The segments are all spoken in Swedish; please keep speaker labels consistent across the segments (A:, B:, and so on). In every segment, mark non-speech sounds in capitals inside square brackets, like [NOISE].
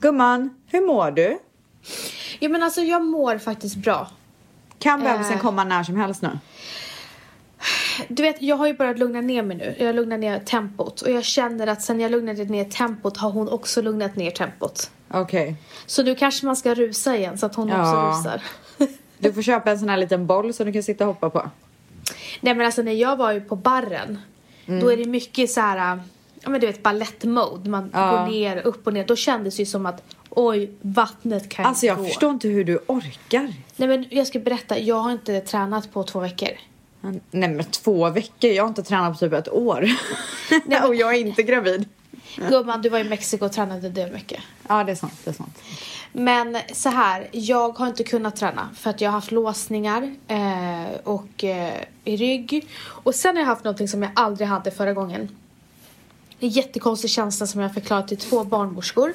A: Gumman, hur mår du?
B: Ja, men alltså jag mår faktiskt bra.
A: Kan bebisen komma när som helst nu?
B: Du vet, jag har ju börjat lugna ner mig nu. Jag lugnar ner tempot. Och jag känner att sen jag lugnade ner tempot har hon också lugnat ner tempot.
A: Okej.
B: Så nu kanske man ska rusa igen så att hon
A: Ja.
B: också rusar. [LAUGHS]
A: Du får köpa en sån här liten boll som du kan sitta och hoppa på.
B: Nej men alltså när jag var ju på barren,
A: Mm.
B: då är det mycket så här, ja men du vet balettmode. Man
A: Ja.
B: går ner, upp och ner. Då kändes det ju som att oj, vattnet kan
A: Alltså jag
B: gå.
A: förstår inte hur du orkar.
B: Nej men jag ska berätta, jag har inte tränat på två veckor.
A: Nej men två veckor, jag har inte tränat på typ ett [LAUGHS] år.
B: men-
A: och jag är inte gravid.
B: Gumman, du var i Mexiko och tränade det mycket.
A: Ja det är sant, det är sant.
B: Men så här, jag har inte kunnat träna för att jag har haft låsningar eh, och, eh, i rygg. Och sen har jag haft någonting som jag aldrig hade förra gången. En jättekonstig känsla som jag har förklarat till två barnmorskor.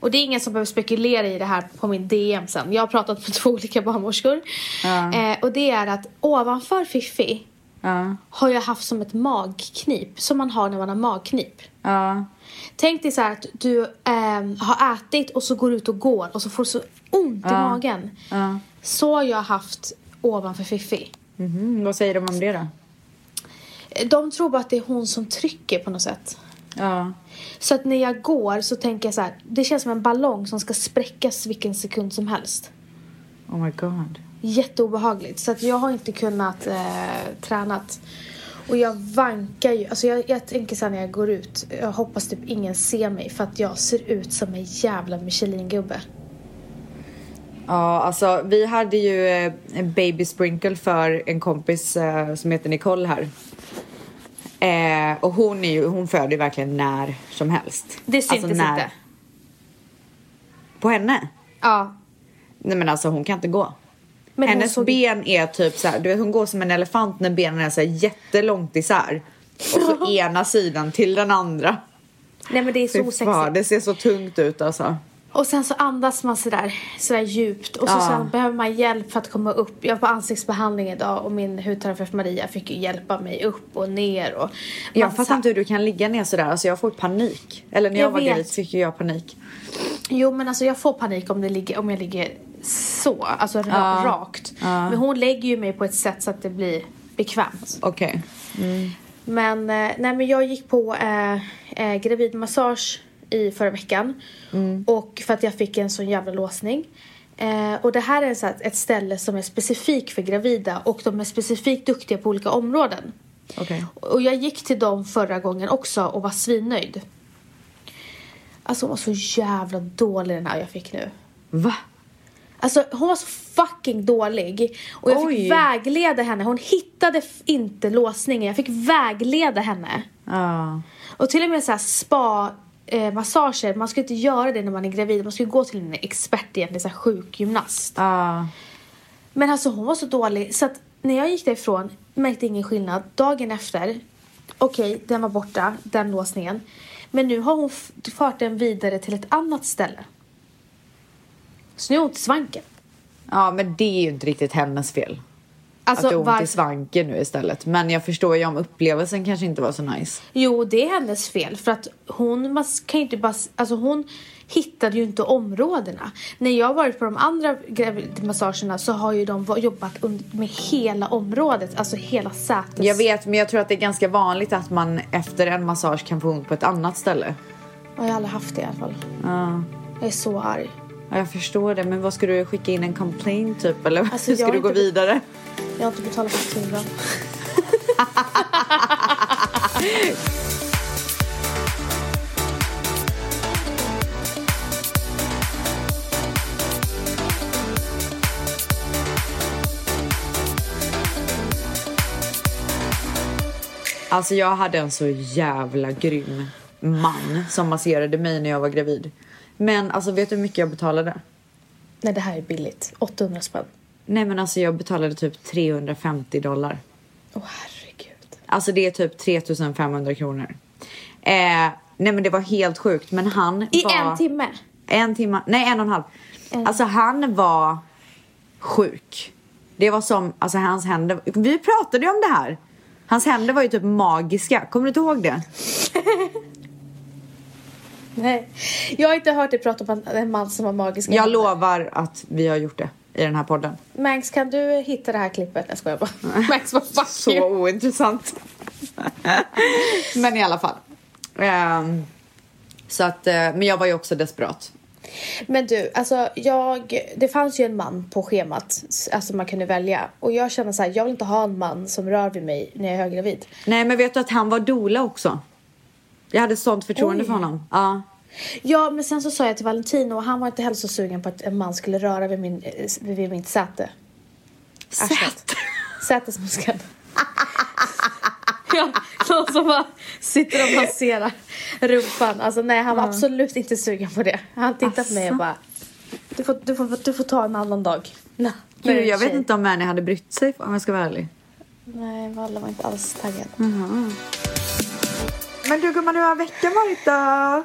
B: Och det är ingen som behöver spekulera i det här på min DM sen. Jag har pratat med [LAUGHS] två olika barnmorskor.
A: Ja.
B: Eh, och det är att ovanför Fifi
A: Ja,
B: har jag haft som ett magknip, som man har när man har magknip.
A: ja.
B: Tänk dig så här att du ehm, har ätit och så går du ut och går och så får du så ont i
A: Ja.
B: magen.
A: ja.
B: Så har jag haft ovanför Fifi.
A: Mhm, Vad säger de om det då?
B: Eh, De tror bara att det är hon som trycker på något sätt.
A: Ja.
B: Så att när jag går så tänker jag så här, det känns som en ballong som ska spräckas vilken sekund som helst.
A: Oh my god.
B: Jätteobehagligt. Så att jag har inte kunnat eh, tränat. Och jag vankar ju. Alltså jag, jag tänker så här när jag går ut, jag hoppas typ ingen ser mig för att jag ser ut som en jävla Michelin-gubbe.
A: Ja, alltså vi hade ju eh, en baby sprinkle för en kompis eh, som heter Nicole här. Eh, och hon, är ju, hon föder ju verkligen när som helst.
B: Det syntes
A: Alltså, när-
B: inte.
A: På henne?
B: Ja,
A: Nej men alltså hon kan inte gå.
B: Men hon
A: Hennes
B: såg-
A: ben är typ så här, du vet hon går som en elefant när benen är så här jättelångt isär. Och
B: [LAUGHS]
A: så ena sidan till den andra.
B: Nej men det är så
A: Fy fan,
B: osexigt.
A: det ser så tungt ut alltså.
B: Och sen så andas man sådär, sådär djupt och så,
A: Ja.
B: sen behöver man hjälp för att komma upp. Jag var på ansiktsbehandling idag och min hudterapeut Maria fick ju hjälpa mig upp och ner och...
A: Jag
B: man
A: fattar
B: sa-
A: inte hur du kan ligga ner sådär, alltså jag får panik. Eller när jag,
B: Jag
A: var
B: vet.
A: gravid fick ju jag panik.
B: Jo men alltså jag får panik om, det ligger, om jag ligger så, alltså ra-
A: Ja.
B: rakt.
A: Ja.
B: Men hon lägger ju mig på ett sätt så att det blir bekvämt.
A: Okej.
B: Men, eh, nej, men jag gick på eh, eh, gravidmassage i förra veckan. Och för att jag fick en sån jävla låsning. Eh, och det här är så här, ett ställe som är specifikt för gravida och de är specifikt duktiga på olika områden.
A: Okej.
B: Och jag gick till dem förra gången också och var svinnöjd. Alltså hon var så jävla dålig den här jag fick nu.
A: Va?
B: Alltså hon var så fucking dålig. Och jag
A: Oj.
B: fick vägleda henne. Hon hittade f- inte låsningen. Jag fick vägleda henne.
A: Ja.
B: Och till och med så här spa eh, massager, man ska inte göra det när man är gravid. Man ska ju gå till en expert egentligen, så här sjukgymnast.
A: Ja.
B: Men alltså hon var så dålig så att när jag gick därifrån märkte jag ingen skillnad. Dagen efter, okej den var borta, den låsningen. Men nu har hon f- fört den vidare till ett annat ställe. Så nu har hon ont i svanken.
A: ja, men det är ju inte riktigt hennes fel.
B: Alltså,
A: att du har ont i
B: varför-
A: svanken nu istället. Men jag förstår ju om upplevelsen kanske inte var så nice.
B: Jo, det är hennes fel. För att hon man kan ju inte bara... Alltså hon hittade ju inte områdena. När jag har varit på de andra gravidmassagerna så har ju de va- jobbat und- med hela området. Alltså hela sätet.
A: Jag vet, men jag tror att det är ganska vanligt att man efter en massage kan få ont på ett annat ställe.
B: Och jag har aldrig haft det i alla fall.
A: Ja,
B: Jag är så arg.
A: Ja, jag förstår det. Men vad ska du skicka in en complain typ? Eller
B: Alltså,
A: hur ska
B: jag
A: du
B: har
A: gå
B: inte-
A: vidare?
B: Jag har inte betalat fakturan.
A: Alltså jag hade en så jävla grym man som masserade mig när jag var gravid. Men alltså vet du hur mycket jag betalade?
B: Nej, det här är billigt. 800 spänn.
A: Nej men alltså jag betalade typ 350 dollar.
B: Åh, herregud.
A: Alltså det är typ 3500 kronor. Eh, nej men det var helt sjukt men han
B: I
A: var...
B: en timme?
A: En timme, nej en och en halv. Alltså han var sjuk. Det var som, alltså hans händer, vi pratade ju om det här. Hans händer var ju typ magiska, kommer du inte ihåg det?
B: Nej. Jag har inte hört dig prata om en man som har magiska
A: Jag
B: händer.
A: lovar att vi har gjort det i den här podden.
B: Mangs, kan du hitta det här klippet? Jag skojar bara. Mangs, vad
A: [LAUGHS]
B: fuck
A: Så
B: you.
A: ointressant. men i alla fall. Ehm, så att, eh, men jag var ju också desperat.
B: Men du, alltså jag... Det fanns ju en man på schemat, alltså man kunde välja. Och jag känner så här, jag vill inte ha en man som rör vid mig när jag är höggravid.
A: Nej, men vet du att han var dola också? Jag hade sånt förtroende
B: Oj.
A: för honom. Ja.
B: Ja, men sen så sa jag till Valentino och han var inte heller så sugen på att en man skulle röra vid, min, eh, vid mitt säte.
A: Sätt.
B: Sätesmuskeln. [LAUGHS] ja, någon som bara sitter och masserar rumpan. Alltså nej, han var absolut inte sugen på det. Han tittade på mig och bara, du får, du, får, du får ta en annan dag. Nej,
A: Gud, jag vet inte om Mani hade brytt sig om jag ska vara ärlig.
B: Nej, Valle var inte alls taggad.
A: Men du gumman, hur har veckan varit då?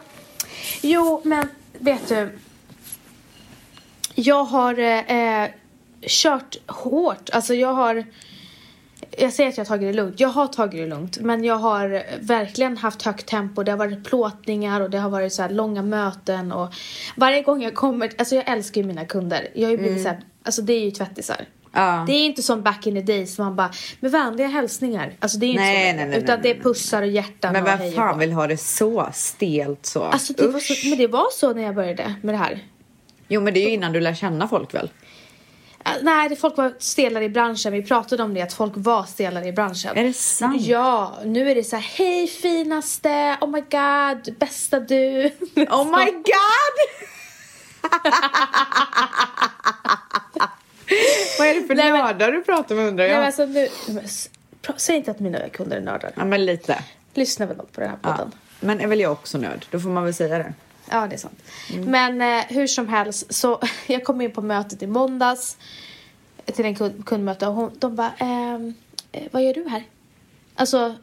B: Jo, men vet du. Jag har eh, eh, kört hårt. Alltså jag har... Jag säger att jag har tagit det lugnt. Jag har tagit det lugnt. Men jag har verkligen haft högt tempo. Det har varit plåtningar och det har varit så här långa möten. Och varje gång jag kommer... Alltså jag älskar ju mina kunder. Jag har ju blivit så här, Alltså det är ju tvättisar.
A: Mm. Ja.
B: Det är inte som back in the days man bara med vänliga hälsningar. Alltså det är ju inte
A: Nej,
B: så
A: nej,
B: längre.
A: nej, nej,
B: Utan det
A: nej,
B: är pussar och hjärtan
A: Men
B: och
A: vem
B: hej och
A: fan
B: hå.
A: vill ha det så stelt så?
B: Alltså det var
A: Usch.
B: så, men det var så när jag började med det här.
A: Jo, men det är ju innan du lär känna folk väl?
B: Äh, Nej, det folk var stelare i branschen. Vi pratade om det, att folk var stelare i branschen.
A: Är det sant?
B: Ja, nu är det så här, hej finaste, oh my god, bästa du. [LAUGHS]
A: Oh my god! [LAUGHS] Vad är det för
B: Nej, men-
A: nördar du pratar med undrar
B: Nej,
A: jag?
B: men alltså, nu, men s- pra- säg inte att mina kunder är nördar.
A: Ja, men lite.
B: Lyssna väl på den här
A: Ja.
B: podden.
A: Men är väl jag också nörd? Då får man väl säga det.
B: Ja, det är sant. Men eh, hur som helst, så [LAUGHS] jag kom in på mötet i måndags eh, till en kund, kundmöte och hon, de bara, ehm, eh, vad gör du här? Alltså,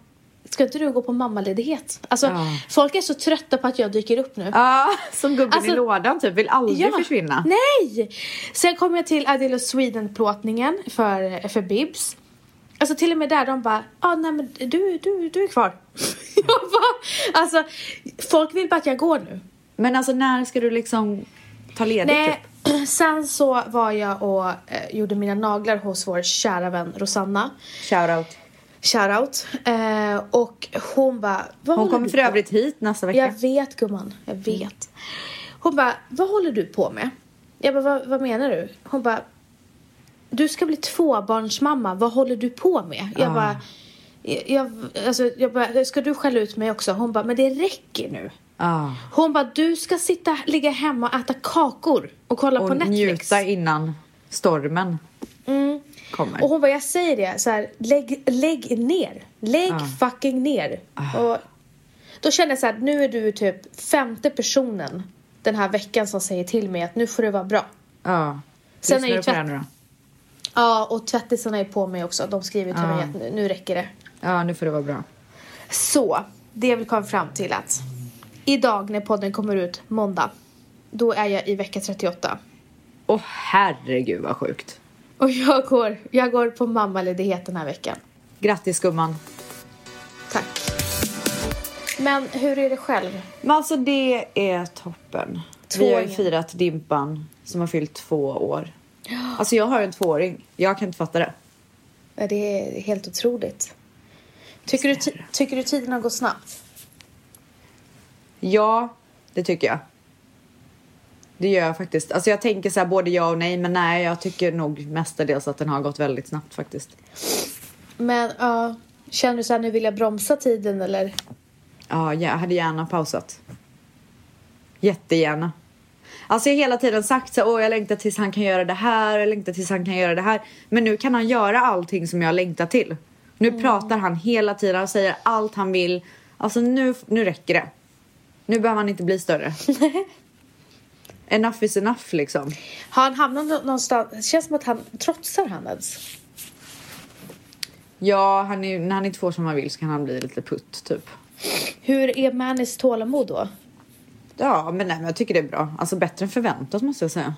B: ska inte du gå på mammaledighet? Alltså,
A: Ja.
B: folk är så trötta på att jag dyker upp nu.
A: Ja, [LAUGHS] som gubben
B: Alltså-
A: i lådan typ. Vill aldrig försvinna.
B: Nej! Sen kom jag till Adele Sweden-plåtningen för, eh, för Bibs. Alltså till och med där, de bara, ah, nej men du, du, du är kvar. [LAUGHS] jag bara, alltså, folk vill bara att jag går nu.
A: Men alltså när ska du liksom ta ledigt typ?
B: Nej, [CLEARS THROAT] sen så var jag och eh, gjorde mina naglar hos vår kära vän Rosanna.
A: Shoutout.
B: Shoutout. Eh, och hon bara... vad
A: Hon
B: håller
A: kommer
B: du
A: för
B: på-
A: övrigt Mm. hit nästa vecka.
B: Jag vet gumman, jag vet. Hon bara, vad håller du på med? Jag bara, vad, vad menar du? Hon bara, du ska bli tvåbarnsmamma, vad håller du på med? Jag
A: Ah.
B: bara, jag, jag, alltså, jag bara, ska du skälla ut mig också? Hon bara, men det räcker nu.
A: Ah.
B: Hon bara, du ska sitta, ligga hemma och äta kakor och kolla på
A: Och
B: Netflix.
A: njuta innan stormen
B: Mm.
A: kommer.
B: Och hon bara, jag säger det, så här, lägg, lägg ner. Lägg fucking ner. Och då kände jag så här, nu är du typ femte personen den här veckan som säger till mig att nu får du vara bra.
A: Ja.
B: Sen är
A: Lyssnar
B: ju
A: du på det här
B: tvätt-
A: nu då?
B: Ja, och tvättisarna är på mig också. De skriver till
A: Ah.
B: mig att nu, nu räcker det.
A: Ja, nu får det vara bra.
B: Så, det jag vill komma fram till att idag när podden kommer ut, måndag, då är jag i vecka 38.
A: Åh herregud vad sjukt.
B: Och jag går, jag går på mammaledighet den här veckan.
A: Grattis gumman.
B: Tack. Men hur är det själv?
A: Men alltså det är toppen. Vi har ju
B: Tvååringen.
A: firat Dimpan som har fyllt två år. Alltså jag har en tvååring. Jag kan inte fatta det.
B: Ja, det är helt otroligt. Tycker du, ti- tycker du tiden har gått snabbt?
A: Ja, det tycker jag. Det gör jag faktiskt. Alltså jag tänker så här både ja och nej. Men nej, jag tycker nog mestadels att den har gått väldigt snabbt faktiskt.
B: Men ja, känner du så här, nu vill jag bromsa tiden eller?
A: Ja, jag hade gärna pausat. Jättegärna. Alltså jag har hela tiden sagt så här, åh jag längtar tills han kan göra det här, jag längtar tills han kan göra det här. Men nu kan han göra allting som jag längtar till. Nu pratar han hela tiden, han säger allt han vill. Alltså nu, nu räcker det. Nu behöver han inte bli större. enough is enough liksom.
B: Har han hamnat nå- någonstans? Det känns som att han trotsar han ens.
A: Ja, han är, när han inte får som han vill så kan han bli lite putt typ.
B: Hur är Manis tålamod då?
A: Ja, men, nej, men jag tycker det är bra. Alltså bättre än förväntat måste jag säga.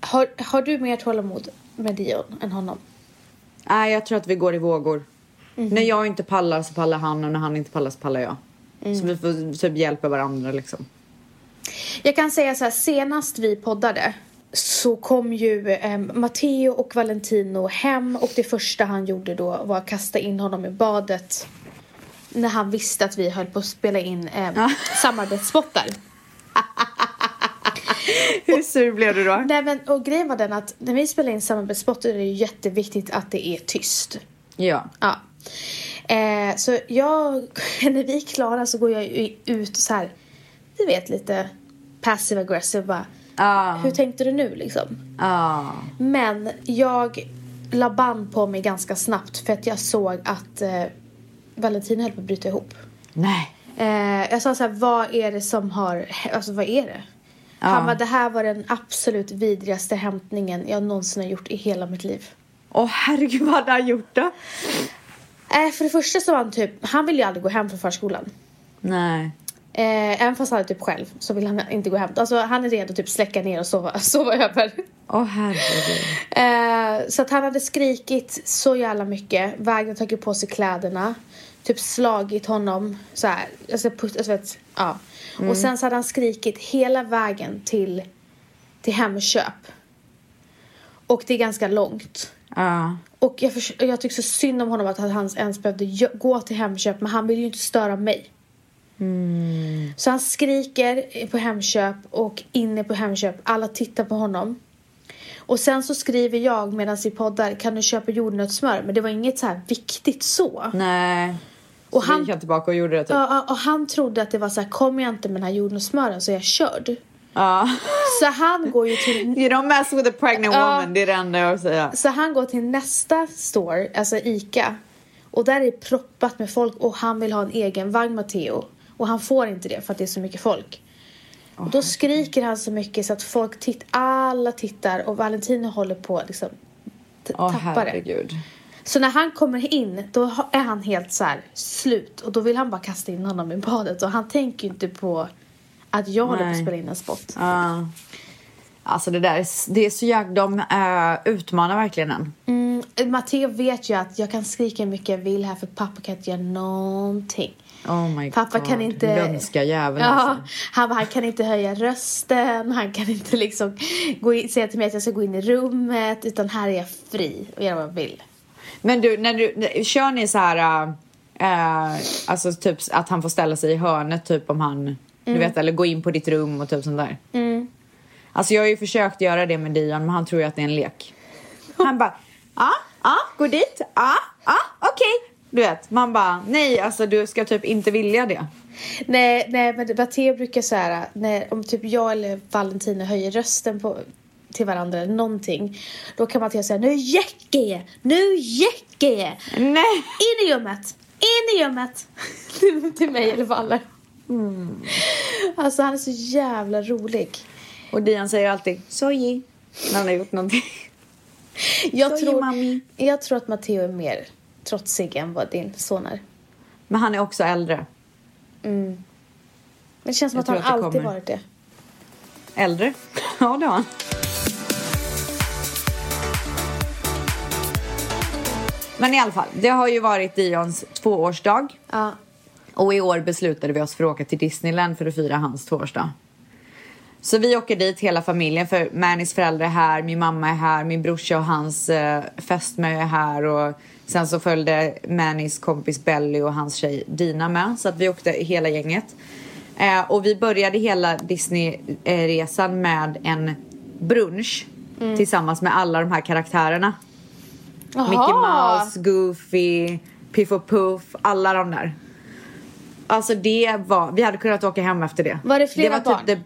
B: Har, har du mer tålamod med Dion än honom?
A: Nej, jag tror att vi går i vågor. När jag inte Mm. pallar så pallar han och när han inte pallar så pallar jag. Så vi får typ hjälpa varandra liksom.
B: Jag kan säga så här, senast vi poddade så kom ju eh, Matteo och Valentino hem och det första han gjorde då var att kasta in honom i badet när han visste att vi höll på att spela in eh,
A: Ja.
B: samarbetsspottar.
A: [LAUGHS] Hur sur blev du då?
B: Nej, men, och grejen var den att när vi spelar in samarbetsspottar är det ju jätteviktigt att det är tyst.
A: Ja.
B: Ja. Eh, så jag, [LAUGHS] när vi är klara så går jag ju ut så här, du vet lite passive aggressive bara.
A: Ah.
B: Hur tänkte du nu liksom?
A: Ah.
B: Men jag la band på mig ganska snabbt för att jag såg att eh, Valentina höll på att bryta ihop.
A: Nej.
B: Eh, jag sa så här, vad är det som har, alltså vad är det?
A: Ja.
B: Han bara, det här var den absolut vidrigaste hämtningen jag någonsin har gjort i hela mitt liv.
A: Åh herregud vad hade han gjort då?
B: Eh, för det första så var han typ, han ville ju aldrig gå hem från förskolan.
A: Nej.
B: Eh, även fast han är typ själv så vill han inte gå hem. Alltså han är redo att typ släcka ner och sova, [LAUGHS] sova över.
A: Åh herregud.
B: Eh, så att han hade skrikit så jävla mycket. Vägen tagit på sig kläderna. Typ slagit honom så här. Alltså, putt, alltså vet, ja. Och sen så hade han skrikit hela vägen till, till Hemköp. Och det är ganska långt.
A: Ja.
B: Och jag, förs- jag tycker så synd om honom att han ens behövde gö- gå till Hemköp men han vill ju inte störa mig. Så han skriker på Hemköp och inne på Hemköp. Alla tittar på honom. Och sen så skriver jag medan vi poddar, kan du köpa jordnötssmör? Men det var inget så här viktigt så.
A: Nej.
B: Och
A: Och
B: han-
A: han... gick han tillbaka och gjorde det typ.
B: Ja, ja, och han trodde att det var så här, kommer jag inte med den här jordnötssmören så är jag körd.
A: Ja.
B: Så han går ju till
A: You don't mess with a pregnant
B: Ja.
A: woman, det är det enda jag vill säga.
B: Så han går till nästa store, alltså Ica. Och där är det proppat med folk och han vill ha en egen vagn Matteo. Och han får inte det för att det är så mycket folk. och då skriker han så mycket så att folk titt alla tittar och Valentino håller på att liksom t-
A: Åh
B: tappa det.
A: herregud.
B: Så när han kommer in då ha- är han helt så här slut och då vill han bara kasta in honom i badet och han tänker ju inte på att jag håller på att
A: Nej.
B: spela in en spot.
A: Ja. Alltså det där, är s- det är så jäkla, de eh, utmanar verkligen en.
B: Mm, Matteo vet ju att jag kan skrika hur mycket jag vill här för pappa kan inte göra någonting.
A: Oh my
B: Pappa
A: god.
B: kan inte...
A: Lömska jäveln
B: ja,
A: alltså.
B: han, bara, han kan inte höja rösten, han kan inte liksom gå in, säga till mig att jag ska gå in i rummet utan här är jag fri och göra vad jag vill.
A: Men du, när du, när- kör ni så här... eh, eh, alltså typ att han får ställa sig i hörnet typ om han...
B: Mm.
A: Du vet, eller gå in på ditt rum och typ sånt där. Alltså jag har ju försökt göra det med Dion men han tror ju att det är en lek. Han bara, ja, ja, gå dit, ja, ja, okej. Du vet, man bara, nej alltså du ska typ inte vilja det.
B: Nej, nej men Matteo brukar så här, när, om typ jag eller Valentino höjer rösten på, till varandra eller någonting, då kan Matteo säga nu jäcker jag, nu jäcker jag,
A: Nej!
B: in i rummet, in i rummet, [LAUGHS] till, till mig eller Valle. Alltså han är så jävla rolig.
A: Och Dion säger alltid, sorry, när han har gjort någonting. [LAUGHS]
B: Jag
A: Sorry,
B: tror,
A: mommy.
B: jag tror att Matteo är mer trotsig än vad din son är.
A: Men han är också äldre.
B: Mm. Men det känns som
A: Jag
B: att han
A: tror att det
B: alltid
A: kommer.
B: varit det.
A: Äldre? [LAUGHS] Ja, det har han. Men i alla fall, det har ju varit Dions tvåårsdag
B: Ja.
A: och i år beslutade vi oss för att åka till Disneyland för att fira hans tvåårsdag. Så vi åker dit hela familjen för Mannys föräldrar är här, min mamma är här, min brorsa och hans eh, fästmö är här och sen så följde Mannys kompis Belly och hans tjej Dina med så att vi åkte hela gänget. Eh, och vi började hela Disneyresan med en brunch tillsammans med alla de här karaktärerna. Mickey
B: Jaha.
A: Mouse, Goofy, Piff och Puff, alla de där. Alltså det var, vi hade kunnat åka hem efter det.
B: Var det flera
A: var typ
B: barn?
A: det,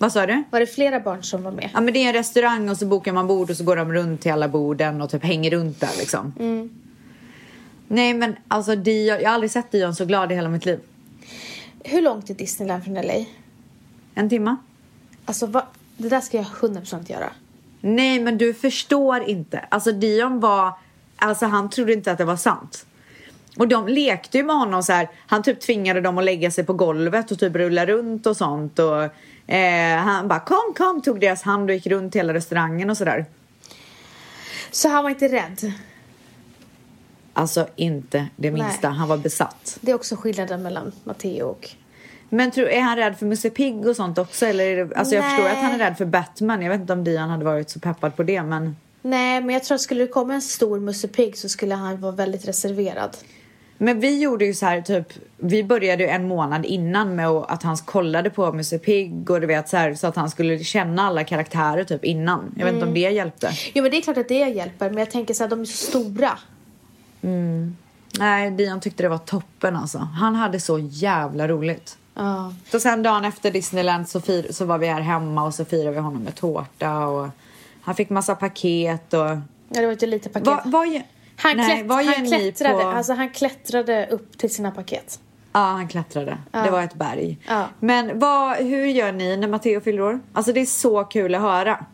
A: vad sa du?
B: Var det flera barn som var med?
A: Ja men det är en restaurang och så bokar man bord och så går de runt till alla borden och typ hänger runt där liksom.
B: Mm.
A: Nej men alltså Dion, jag har aldrig sett Dion så glad i hela mitt liv.
B: Hur långt är Disneyland från LA?
A: En timma.
B: Alltså va? det där ska jag 100% göra.
A: Nej men du förstår inte. Alltså Dion var, alltså han trodde inte att det var sant. Och de lekte ju med honom så här. han typ tvingade dem att lägga sig på golvet och typ rulla runt och sånt och eh, han bara kom kom tog deras hand och gick runt hela restaurangen och sådär.
B: Så han var inte rädd.
A: Alltså inte det minsta, han var besatt.
B: Det är också skillnaden mellan Matteo och...
A: Men tror, är han rädd för Musse Pigg och sånt också? Eller är det, alltså jag förstår
B: Nej.
A: att han är rädd för Batman. Jag vet inte om Dion hade varit så peppad på det. Men,
B: Nej, men jag tror att skulle det komma en stor Musse Pigg så skulle han vara väldigt reserverad.
A: men vi gjorde ju så här typ. Vi började ju en månad innan med att han kollade på Musse Pigg och du vet så här så att han skulle känna alla karaktärer typ innan. Jag vet inte
B: Mm.
A: om det hjälpte.
B: Jo, men det är klart att det hjälper, men jag tänker så här, de är så stora.
A: Nej, Dion tyckte det var toppen alltså. Han hade så jävla roligt.
B: Ja.
A: Så sen dagen efter Disneyland så, fir- så var vi här hemma och så firade vi honom med tårta och han fick massa paket och...
B: Ja, det var inte lite paket.
A: Vad vad gör-
B: han,
A: Nej,
B: klätt,
A: vad gör
B: han,
A: ni
B: klättrade,
A: på-
B: alltså, han klättrade upp till sina paket.
A: Ja, han klättrade. Det var ett berg.
B: Ja.
A: Men vad, hur gör ni när Matteo fyller år? Alltså det är så kul att höra.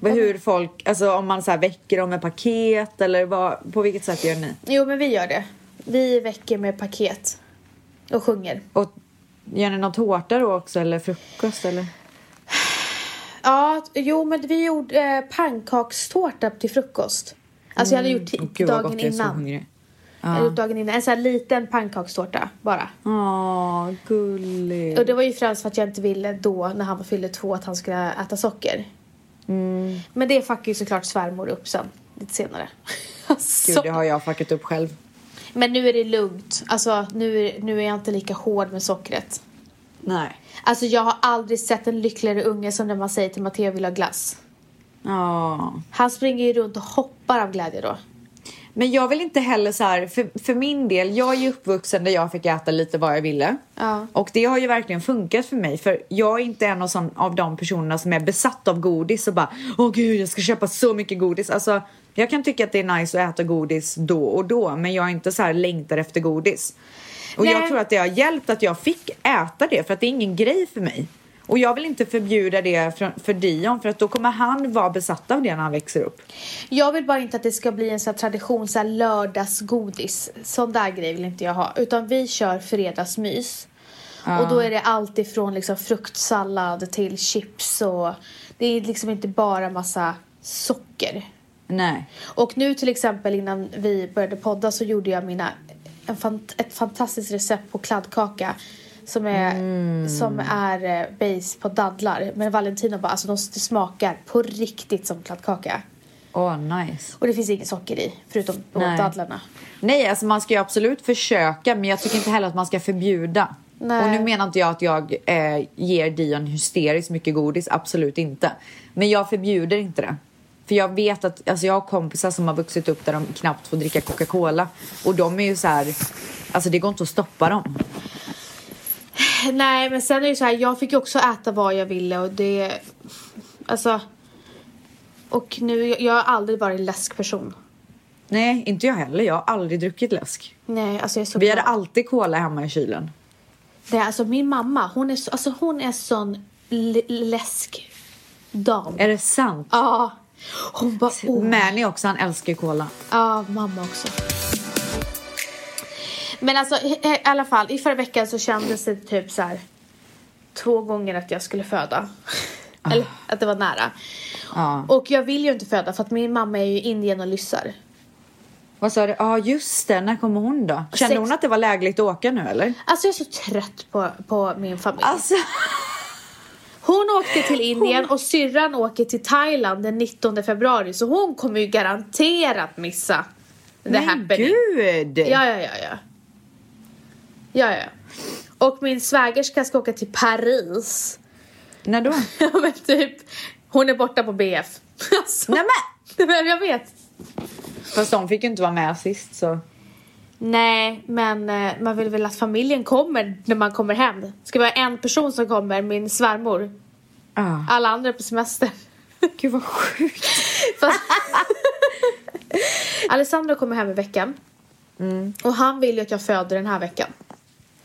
A: Vad- Hur folk, alltså om man så här väcker dem med paket eller vad, på vilket sätt gör ni?
B: Jo, men vi gör det. Vi väcker med paket och sjunger.
A: Och gör ni någon tårta då också eller frukost eller?
B: Ja, jo, men vi gjorde eh, pannkakstårta till frukost. Alltså, jag hade gjort
A: Åh,
B: dagen
A: jag är så
B: innan.
A: hungrig.
B: Jag hade gjort dagen innan. En sån här liten pannkakstårta bara.
A: Åh, gulligt.
B: Och det var ju främst för att jag inte ville då när han var fyllde två att han skulle äta socker.
A: Mm.
B: Men det fuckade ju såklart svärmor upp sen, lite senare. [LAUGHS]
A: Gud,
B: Alltså.
A: det har jag fuckat upp själv.
B: Men nu är det lugnt. Alltså nu, är- nu är jag inte lika hård med sockret.
A: Nej.
B: Alltså jag har aldrig sett en lyckligare unge som när man säger till Matteo vill ha glass.
A: Ja.
B: Han springer ju runt och hoppar av glädje då.
A: Men jag vill inte heller så här, för, för min del, jag är ju uppvuxen där jag fick äta lite vad jag ville.
B: Ja.
A: Och det har ju verkligen funkat för mig för jag är inte en av, sån, av de personerna som är besatt av godis och bara Åh gud jag ska köpa så mycket godis. Alltså jag kan tycka att det är nice att äta godis då och då men jag är inte så här längtar efter godis. Och jag
B: Nej.
A: tror att det har hjälpt att jag fick äta det för att det är ingen grej för mig. Och jag vill inte förbjuda det för, för Dion för att då kommer han vara besatt av det när han växer upp.
B: Jag vill bara inte att det ska bli en sån här tradition, så här lördagsgodis. Sån där grej vill inte jag ha. Utan vi kör fredagsmys. Och då är det allt ifrån liksom fruktsallad till chips och det är liksom inte bara massa socker.
A: Nej.
B: Och nu till exempel innan vi började podda så gjorde jag mina, en fant- ett fantastiskt recept på kladdkaka som är, som är eh, base på dadlar. Men Valentino bara, alltså de s- det smakar på riktigt som kladdkaka.
A: Åh nice.
B: Och det finns inget socker i, förutom på
A: Nej.
B: dadlarna.
A: Nej, alltså man ska ju absolut försöka men jag tycker inte heller att man ska förbjuda.
B: Nej.
A: Och nu menar inte jag att jag eh, ger Dion hysteriskt mycket godis, absolut inte. Men jag förbjuder inte det. För jag vet att, alltså jag har kompisar som har vuxit upp där de knappt får dricka Coca-Cola. Och de är ju så här, alltså det går inte att stoppa dem.
B: Nej, men sen är det ju så här, jag fick ju också äta vad jag ville och det... Alltså... Och nu, jag har aldrig varit en läskperson.
A: Nej, inte jag heller. Jag har aldrig druckit läsk.
B: Nej, alltså jag är så
A: Vi hade
B: glad.
A: alltid cola hemma i kylen.
B: Nej, alltså min mamma, hon är, så- alltså, hon är sån l- läskdam.
A: Är det sant?
B: Ja. Hon bara, oh.
A: Mani också, han älskar ju cola.
B: Ja, mamma också. Men alltså i i alla fall, i förra veckan så kändes det typ så här två gånger att jag skulle föda. Eller att det var nära.
A: Ah. Ja.
B: Och jag vill ju inte föda för att min mamma är ju i Indien och lyssar.
A: Vad sa du? Ja, just det. När kommer hon då? Kände
B: Sex-
A: hon att det var lägligt att åka nu eller?
B: Alltså jag är så trött på, på min familj.
A: Alltså,
B: Hon åkte till Indien och syrran åker till Thailand den 19 februari så hon kommer ju garanterat missa the
A: men
B: happening.
A: gud!
B: Ja, ja, ja, ja. Ja, ja. Och min svägerska ska åka till Paris. [LAUGHS]
A: När då?
B: Ja, men typ, hon är borta på BF. [LAUGHS] Alltså,
A: Nej men!
B: men jag vet.
A: Fast de fick ju inte vara med sist så.
B: Nej, men eh, man vill väl att familjen kommer när man kommer hem. Det ska vara en person som kommer, min svärmor.
A: Ah.
B: Alla andra är på semester. [LAUGHS]
A: Gud vad sjukt.
B: Fast... Alessandro kommer hem i veckan.
A: Mm.
B: Och han vill ju att jag föder den här veckan.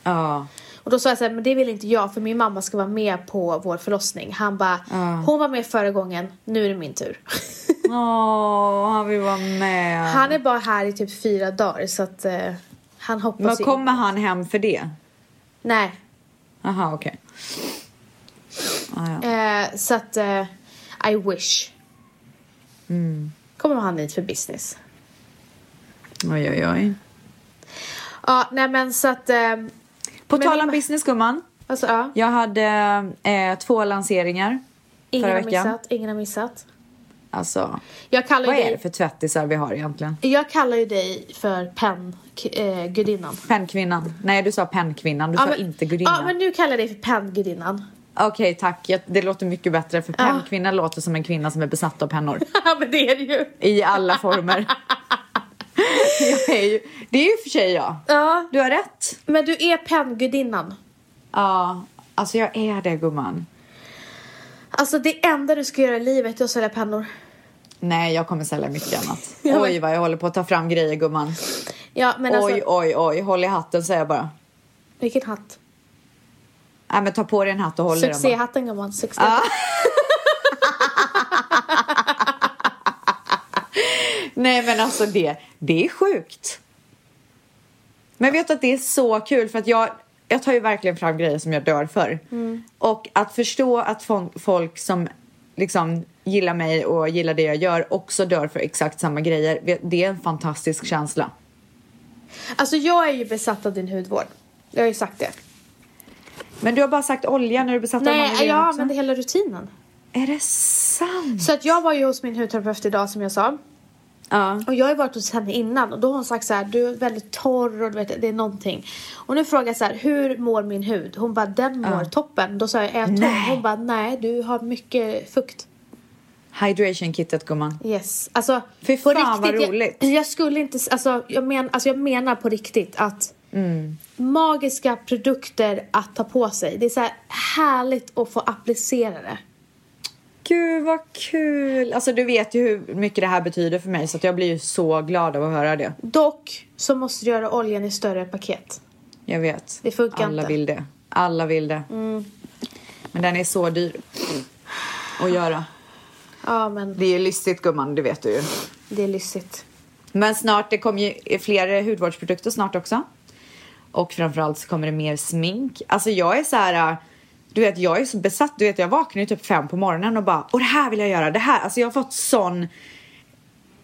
A: Ja.
B: Och då sa jag så här, men det vill inte jag för min mamma ska vara med på vår förlossning. Han bara, hon var med förra gången, nu är det min tur.
A: Åh, han vill vara med.
B: Han är bara här i typ fyra dagar så att eh, han
A: Men
B: hoppas ju-
A: kommer han hem för det?
B: Nej.
A: Aha, okej. Ah, ja.
B: Eh, så att, eh, I wish.
A: Mm.
B: Kommer han hit för business.
A: Oj, oj, oj.
B: Ja, nej men så att... Eh,
A: På
B: Men
A: tal
B: min-
A: om business gumman.
B: Alltså, ja.
A: Jag hade eh, två lanseringar
B: Ingen
A: förra
B: har
A: veckan.
B: missat, ingen har missat.
A: Alltså,
B: Jag kallar ju
A: vad är det
B: dig,
A: för tvättisar vi har egentligen?
B: jag kallar ju dig för penngudinnan. Eh,
A: Pennkvinnan. Nej, du sa pennkvinnan. Du sa inte gudinna.
B: Ja, men nu kallar jag dig för penngudinnan.
A: Okej, tack. Jag, det låter mycket bättre. För pennkvinna låter som en kvinna som är besatt av pennor.
B: [LAUGHS] Ja, men det är det ju.
A: I alla
B: [LAUGHS]
A: former. jag är ju, det är ju för sig jag.
B: Ja,
A: Du har rätt.
B: men du är penngudinnan.
A: Ja, alltså jag är det gumman.
B: Alltså det enda du ska göra i livet är att sälja pennor.
A: Nej, jag kommer sälja mycket annat.
B: [LAUGHS] Ja, men-
A: Oj, vad jag håller på att ta fram grejer gumman.
B: Ja, men
A: Oj,
B: alltså,
A: oj, oj. Håll i hatten säger jag bara.
B: vilken hatt.
A: Nej, men ta på dig en hatt och håll i den bara.
B: Succéhatten gumman, succé. Ja.
A: Nej men alltså det, det är sjukt. Men jag vet att det är så kul för att jag, jag tar ju verkligen fram grejer som jag dör för. Och att förstå att fol- folk som liksom gillar mig och gillar det jag gör också dör för exakt samma grejer. vet- Det är en fantastisk känsla.
B: Alltså jag är ju besatt av din hudvård. Jag har ju sagt det.
A: Men du har bara sagt olja när du besatt av
B: Nej, jag
A: också.
B: använder hela rutinen.
A: Är det sant?
B: Så att jag var ju hos min hudterapeut idag som jag sa.
A: Ja.
B: Och jag har ju varit hos henne innan och då har hon sagt så här, du är väldigt torr och du vet, det är någonting. Och nu frågar jag så här, hur mår min hud? Hon bara, den mår toppen. Då sa jag, är jag torr?
A: Nej.
B: Hon bara, nej du har mycket fukt.
A: Hydration kittet gumman.
B: Yes. Alltså,
A: Fy
B: på
A: fan, vad
B: riktigt,
A: roligt.
B: Jag, jag skulle inte, s- alltså jag, men, alltså jag menar på riktigt att
A: Mm.
B: magiska produkter att ta på sig. Det är så här härligt att få applicera det.
A: Gud vad kul! Alltså du vet ju hur mycket det här betyder för mig så att jag blir ju så glad av att höra det.
B: Dock så måste du göra oljan i större paket.
A: Jag vet.
B: Det funkar
A: Alla
B: inte. Mm.
A: vill det. Alla vill det. Men den är så dyr att göra.
B: Ja men
A: Det är ju listigt gumman, det vet du ju.
B: det är lyssigt.
A: Men snart, det kommer ju fler hudvårdsprodukter snart också. Och framförallt så kommer det mer smink. Alltså jag är så här, äh, du vet jag är så besatt, du vet jag vaknar ju typ fem på morgonen och bara, och det här vill jag göra, det här, alltså jag har fått sån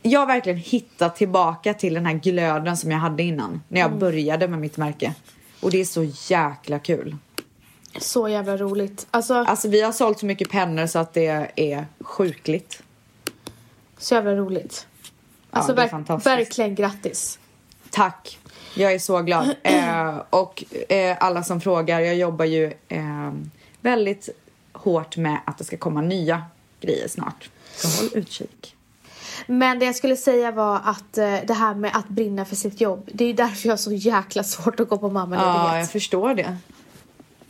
A: jag har verkligen hittat tillbaka till den här glöden som jag hade innan när
B: Mm.
A: jag började med mitt märke. Och det är så jäkla kul.
B: Så jävla roligt. Alltså,
A: Alltså vi har sålt så mycket pennor så att det är sjukligt.
B: så jävla roligt. Alltså
A: det är
B: verk-
A: fantastiskt.
B: verkligen grattis.
A: Tack. Jag är så [CLEARS THROAT] glad. Eh, och eh, alla som frågar, jag jobbar ju eh, väldigt hårt med att det ska komma nya grejer snart. Så håll utkik.
B: Men det jag skulle säga var att eh, det här med att brinna för sitt jobb. Det är ju därför jag har så jäkla svårt att gå på
A: Ja,
B: mammaledighet.
A: jag förstår det.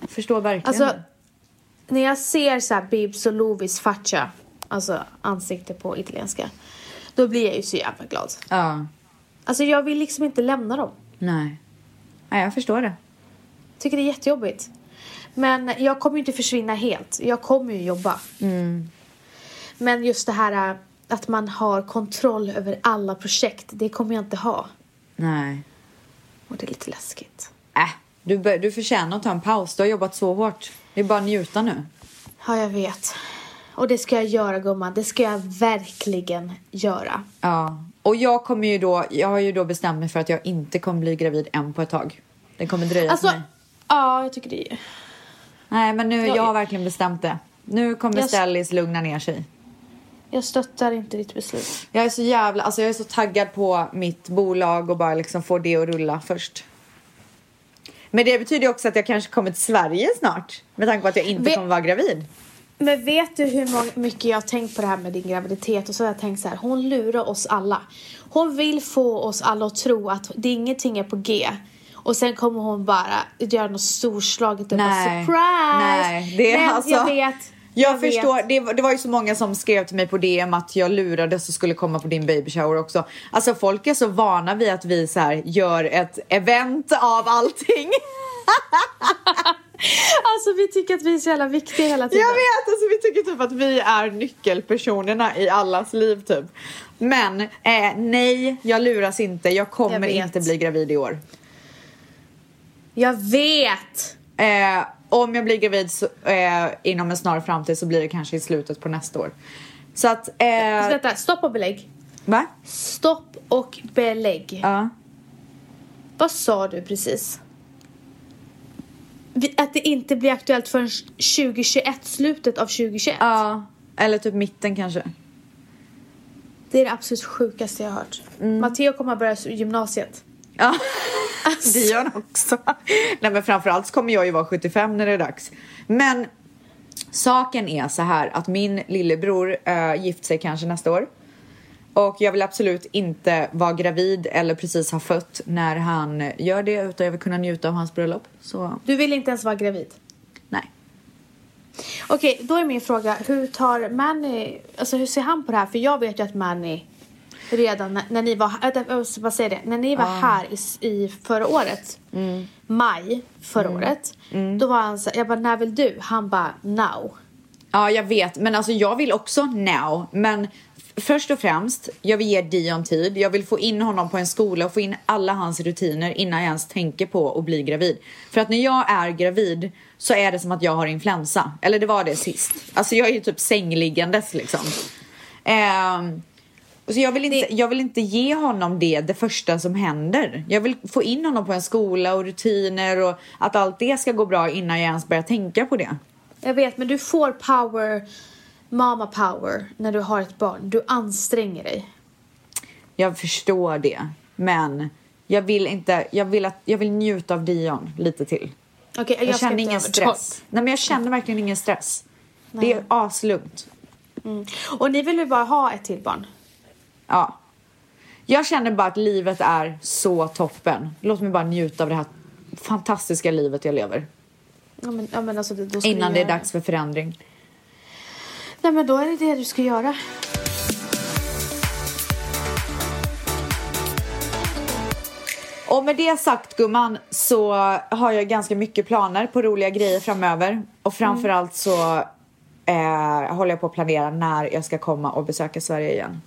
A: Jag förstår verkligen
B: alltså,
A: det.
B: när jag ser så här Bibs och Lovis faccia, alltså ansikte på italienska, då blir jag ju så jävla glad.
A: Ja,
B: Alltså jag vill liksom inte lämna dem.
A: nej. Nej, jag förstår det.
B: Tycker det är jättejobbigt. Men jag kommer ju inte försvinna helt. Jag kommer ju jobba. Men just det här eh, att man har kontroll över alla projekt, det kommer jag inte ha.
A: Nej.
B: Och det är lite läskigt.
A: Äh, du, bör- du förtjänar att ta en paus. Du har jobbat så hårt. Det är bara att njuta nu.
B: Ja, jag vet. Och det ska jag göra gumman, det ska jag verkligen göra.
A: Ja. Och jag kommer ju då, jag har ju då bestämt mig för att jag inte kommer bli gravid än på ett tag. Det kommer dröja för
B: Alltså,
A: mig.
B: ja jag tycker det är
A: Nej, men nu,
B: Jag-
A: jag har verkligen bestämt det. Nu kommer
B: Jag-
A: Stellis lugna ner sig.
B: Jag stöttar inte ditt beslut.
A: Jag är så jävla, alltså jag är så taggad på mitt bolag och bara liksom få det att rulla först. Men det betyder ju också att jag kanske kommer till Sverige snart. Med tanke på att jag inte
B: Vi-
A: kommer vara gravid.
B: Men vet du hur mång- mycket jag har tänkt på det här med din graviditet? Och så har jag tänkt så här, hon lurar oss alla. Hon vill få oss alla att tro att det ingenting är på G. Och sen kommer hon bara göra något storslaget och bara
A: Nej.
B: surprise!
A: Nej, det är
B: Men
A: alltså-
B: jag vet.
A: Jag,
B: vet.
A: förstår, det, var- det var ju så många som skrev till mig på DM att jag lurades och skulle komma på din baby shower också. Alltså folk är så vana vid att vi så här gör ett event av
B: [LAUGHS]
A: allting.
B: Alltså vi tycker att vi är så jävla viktiga hela tiden.
A: Jag vet, alltså vi tycker typ att vi är nyckelpersonerna i allas liv typ. Men eh, nej, jag luras inte. Jag kommer
B: Jag vet.
A: inte bli gravid i år.
B: Jag vet!
A: Eh, om jag blir gravid så, eh, inom en snar framtid så blir det kanske i slutet på nästa år. Så att...
B: Så
A: Eh,
B: vänta, stopp och belägg.
A: va?
B: Stopp och belägg.
A: Ja.
B: Vad sa du precis? vi- att det inte blir aktuellt förrän 2021, slutet av 2021.
A: Ja. Eller typ mitten kanske.
B: Det är det absolut sjukaste jag har hört. Matteo kommer att börja gymnasiet.
A: Ja. [LAUGHS] Det gör han också. Nej men framförallt så kommer jag ju vara 75 när det är dags. Men saken är så här att min lillebror äh, gift sig kanske nästa år. Och jag vill absolut inte vara gravid eller precis ha fött när han gör det utan jag vill kunna njuta av hans bröllop. Så
B: Du vill inte ens vara gravid.
A: nej.
B: Okej, då är min fråga. Hur tar Manny... Alltså hur ser han på det här? För jag vet ju att Manny redan när, när ni var... Äh, jag måste bara säga det. När ni var här i, s- i förra året. Maj förra året. Då var han så Jag bara, när vill du? Han bara, now.
A: Ja, jag vet. Men alltså jag vill också now. Men f- först och främst, jag vill ge Dion tid. Jag vill få in honom på en skola och få in alla hans rutiner innan jag ens tänker på att bli gravid. För att när jag är gravid så är det som att jag har influensa. Eller det var det sist. Alltså jag är ju typ sängliggandes liksom. Ehm, så jag vill, inte, jag vill inte ge honom det, det första som händer. Jag vill få in honom på en skola och rutiner och att allt det ska gå bra innan jag ens börjar tänka på det.
B: Jag vet, men du får power, mamma power, när du har ett barn. Du anstränger dig.
A: Jag förstår det, men jag vill inte, jag vill, att, jag vill njuta av Dion lite till.
B: Okej,
A: Jag,
B: jag, ska
A: känner
B: inte
A: ingen
B: övertala.
A: stress. Nej men jag känner verkligen ingen stress. Det är
B: Nej.
A: aslugnt.
B: Mm. Och ni vill ju bara ha ett till barn?
A: Ja. Jag känner bara att livet är så toppen. Låt mig bara njuta av det här fantastiska livet jag lever.
B: Ja, men, ja, men alltså, det- då ska
A: Innan
B: du
A: det är
B: göra
A: dags för förändring.
B: Nej, men då är det det du ska göra.
A: Och med det sagt gumman så har jag ganska mycket planer på roliga grejer framöver. Och framförallt så eh, håller jag på att planera när jag ska komma och besöka Sverige igen.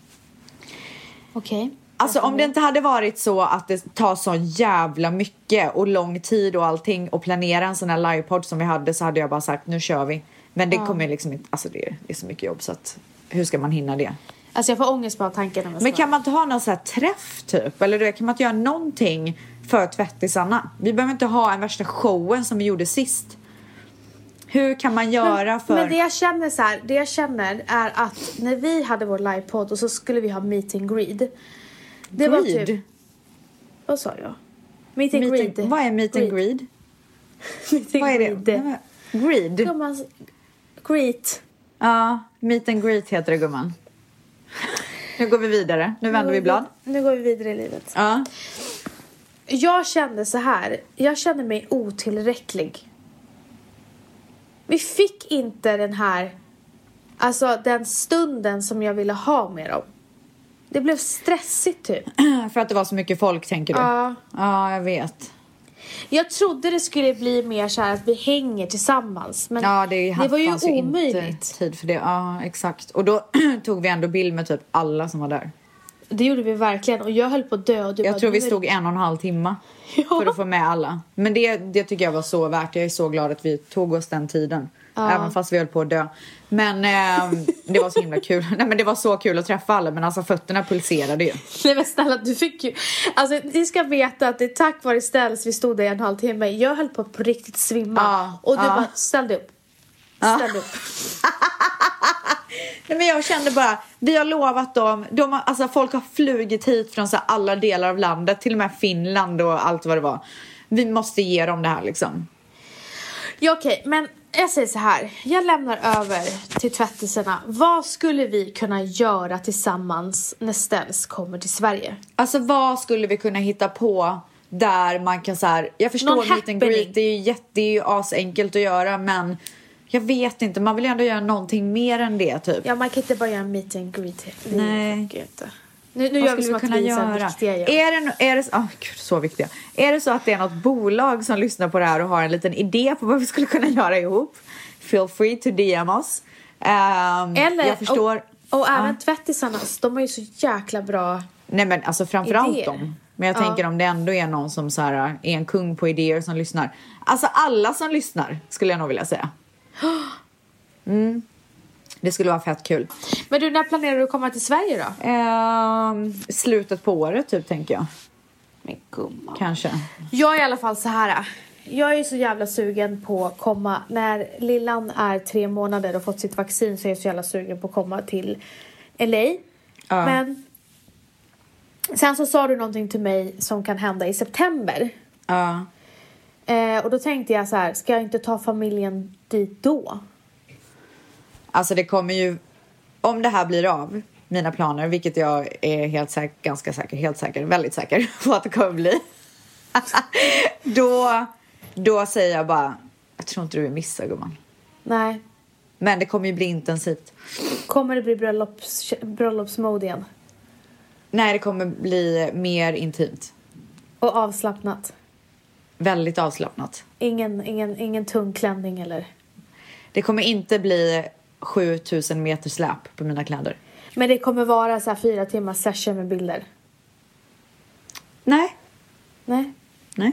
B: Okej.
A: Alltså om det inte hade varit så att det tar så jävla mycket och lång tid och allting och planera en sån här livepodd som vi hade så hade jag bara sagt nu kör vi. Men det kommer ju liksom inte, alltså det är, det är så mycket jobb så att hur ska man hinna det?
B: Alltså jag får ångest bara av tanken. Om jag
A: Men
B: ska-
A: kan man inte ha någon sån här träff typ? Eller du vet, kan man inte göra någonting för tvättisarna? Vi behöver inte ha en värsta showen som vi gjorde sist. Hur kan man göra för...
B: Men det jag känner så här, det jag känner är att när vi hade vår livepodd och så skulle vi ha meet and greet. Det var typ,
A: Greed?
B: vad sa jag? Meet and
A: Meet and-
B: greet.
A: Vad är meet and greed?
B: Meet and
A: Vad är det?
B: greet.
A: Nej, men- Greed?
B: Kan man- Greet.
A: Ja, meet and greet heter det gumman. Nu går vi vidare. Nu vänder vi blad.
B: Nu går vi vidare i livet.
A: Ja.
B: Jag kände så här, jag kände mig otillräcklig. Vi fick inte den här, alltså den stunden som jag ville ha med dem. Det blev stressigt typ.
A: [CLEARS THROAT] För att det var så mycket folk tänker du?
B: Ja.
A: Ja, jag vet.
B: Jag trodde det skulle bli mer så här att vi hänger tillsammans. Men
A: Ja, det,
B: det var ju
A: fanns inte
B: omöjligt.
A: tid för det. Ja, exakt. Och då [CLEARS THROAT] tog vi ändå bild med typ alla som var där.
B: Det gjorde vi verkligen. Och jag höll på att dö. Och du
A: Jag
B: bara,
A: tror vi
B: nu-
A: stod en och en halv timme
B: [LAUGHS] Ja.
A: för att få med alla. Men det, det tycker jag var så värt. Jag är så glad att vi tog oss den tiden. Även fast vi höll på att dö. Men eh, det var så himla kul. [LAUGHS] Nej, men det var så kul att träffa alla men alltså fötterna pulserade ju.
B: Nej men snälla, du fick ju... Alltså ni ska veta att det är tack vare Ställs vi stod där i en halvtimme. Jag höll på att på riktigt svimma.
A: Ja,
B: och du
A: ja.
B: bara, ställ dig upp. Ställ dig upp.
A: Nej, men jag kände bara, vi har lovat dem, de har, alltså folk har flugit hit från så här alla delar av landet, till och med Finland och allt vad det var. Vi måste ge dem det här liksom.
B: Ja, okej, men jag säger så här. Jag lämnar över till tvättisarna. Vad skulle vi kunna göra tillsammans när Ställs kommer till Sverige?
A: Alltså vad skulle vi kunna hitta på där man kan så här, jag
B: Någon
A: förstår meet and
B: happening.
A: greet, det är ju jätte, det är ju asenkelt att göra men jag vet inte, man vill ju ändå göra någonting mer än det typ.
B: Ja, man kan inte bara göra en meet and greet. Det
A: Nej.
B: funkar ju inte. Nu, nu
A: Vad
B: gör vi E- som att vi är så här viktiga igen.
A: Är det, no- är, det, oh, gud, så viktiga. är det så att det är något bolag som lyssnar på det här och har en liten idé på vad vi skulle kunna göra ihop? Feel free to DM oss. Ehm,
B: Eller, oh.
A: jag förstår.
B: Och, och även tvättisarna, de har ju så jäkla bra...
A: Nej men alltså framförallt
B: Idéer.
A: dem. Men jag
B: Ja.
A: tänker om det ändå är någon som så här, är en kung på idéer som lyssnar. Alltså alla som lyssnar skulle jag nog vilja
B: [GASPS]
A: säga. Mm. Det skulle vara fett kul.
B: Men du, när planerar du att komma till Sverige då?
A: Ehm, slutet på året typ tänker jag.
B: Men gumman.
A: Kanske.
B: Jag är i alla fall så här. Jag är så jävla sugen på att komma. När Lillan är tre månader och fått sitt vaccin så är jag så jävla sugen på att komma till LA.
A: Ja.
B: Men sen så sa du någonting till mig som kan hända i september.
A: Ja.
B: Eh, och då tänkte jag så här, ska jag inte ta familjen dit då?
A: Alltså det kommer ju, om det här blir av, mina planer, vilket jag är helt säker, ganska säker, helt säker, väldigt säker [LAUGHS] på att det kommer bli. då, då säger jag bara, jag tror inte du vill missa gumman.
B: Nej.
A: Men det kommer ju bli intensivt.
B: Kommer det bli bröllops, bröllopsmode igen?
A: Nej, det kommer bli mer intimt.
B: Och avslappnat?
A: Väldigt avslappnat.
B: Ingen, ingen, ingen tung klänning eller?
A: Det kommer inte bli 7000 meter släp på mina kläder.
B: Men det kommer vara så här fyra timmars session med bilder?
A: Nej.
B: Nej.
A: Nej.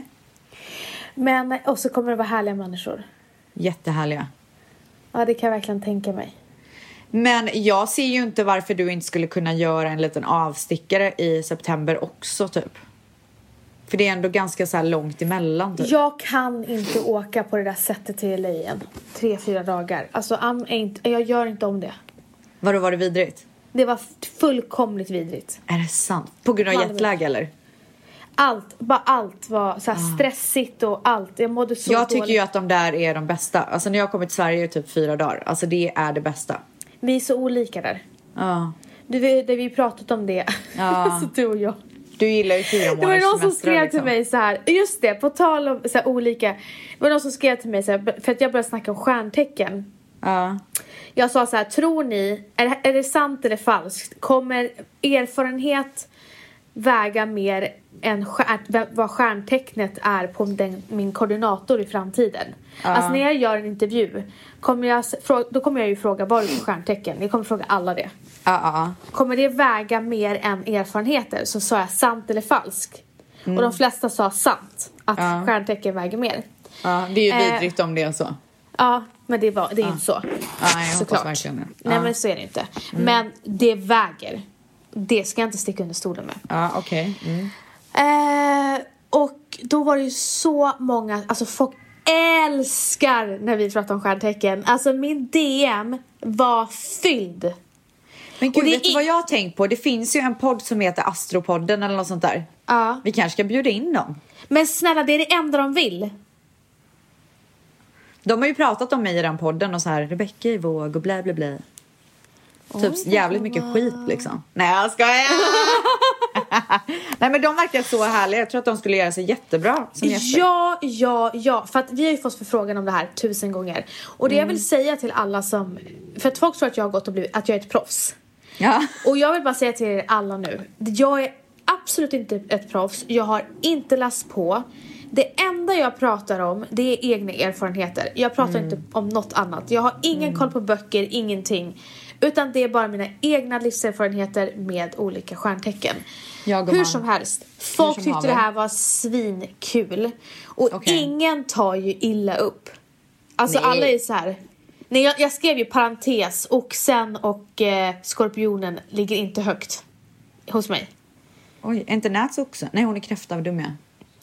B: Men, och så kommer det vara härliga människor.
A: Jättehärliga.
B: Ja, det kan jag verkligen tänka mig.
A: Men jag ser ju inte varför du inte skulle kunna göra en liten avstickare i september också typ. För det är ändå ganska så här långt emellan typ.
B: Jag kan inte åka på det där sättet till LA igen. Tre, fyra dagar. Alltså, I'm ain't, jag gör inte om det.
A: Vadå, var det vidrigt?
B: Det var fullkomligt vidrigt.
A: Är det sant? På grund av
B: Malmö.
A: jetlag eller?
B: Allt, bara allt var så här stressigt och allt. Jag mådde så
A: Ah. Jag
B: dåligt.
A: tycker ju att de där är de bästa. Alltså när jag kommit till Sverige i typ fyra dagar. Alltså det är det bästa.
B: Vi är så olika där.
A: Ja.
B: Du, vi, det, vi pratat om det.
A: Ja.
B: [LAUGHS] alltså, du och jag.
A: Du gillar ju fyra
B: Det var
A: månaders
B: någon som
A: semester,
B: skrev till
A: liksom.
B: mig så här. just det, på tal om så här, olika. Det var någon som skrev till mig så här, för att jag började snacka om stjärntecken.
A: Ja.
B: Jag sa så här, tror ni, är det, är det sant eller falskt? Kommer erfarenhet väga mer än stjär, v- vad stjärntecknet är på den, min koordinator i framtiden? Alltså när jag gör en intervju, kommer jag, s- frå- då kommer jag ju fråga vad är du för stjärntecken? Jag kommer fråga alla det.
A: Ja, ja,
B: Kommer det väga mer än erfarenheter? Så sa jag sant eller falskt. Och de flesta sa sant, att
A: Ja.
B: stjärntecken väger mer.
A: ja. Det är ju
B: Eh.
A: vidrigt om det är så.
B: Ja, men det, var, det är inte så.
A: Nej, jag hoppas verkligen det.
B: Nej,
A: Ja. Mm.
B: men så är det inte. Men det väger. Det ska jag inte sticka under stolen med.
A: Ja, okej. Mm.
B: Eh, och då var det ju så många, alltså folk älskar när vi pratar om stjärntecken. Alltså min DM var fylld.
A: Men gud,
B: Och det
A: vet du
B: är-
A: vad jag har tänkt på? Det finns ju en podd som heter Astropodden eller något sånt där.
B: Ja.
A: Vi kanske ska bjuda in dem.
B: Men snälla, det är det enda de vill.
A: De har ju pratat om mig i den podden och så här, Rebecka i våg och blä blä blä. Typ jävligt mycket skit liksom. Nej jag skojar! Nej men de verkar så härliga. Jag tror att de skulle göra sig jättebra som gäster.
B: Ja, ja, ja. För att vi har ju fått förfrågan om det här tusen gånger. Och det
A: Mm.
B: jag vill säga till alla som... För att folk tror att jag har gått och blivit... Att jag är ett proffs.
A: Ja.
B: Och jag vill bara säga till er alla nu. Jag är absolut inte ett proffs. Jag har inte läst på. Det enda jag pratar om det är egna erfarenheter. Jag
A: Mm.
B: pratar inte om något annat. Jag har ingen koll på böcker, ingenting. Utan det är bara mina egna livserfarenheter med olika stjärntecken.
A: Ja, gumman.
B: Hur som helst. Folk
A: som
B: tyckte
A: haver.
B: det här var svinkul. Och
A: Okej.
B: ingen tar ju illa upp. Alltså
A: Nej.
B: alla är så här. Nej, jag, jag skrev ju parentes, oxen och eh, skorpionen ligger inte högt hos mig.
A: Oj, är inte Nats också? Nej hon är kräfta, vad dum jag är.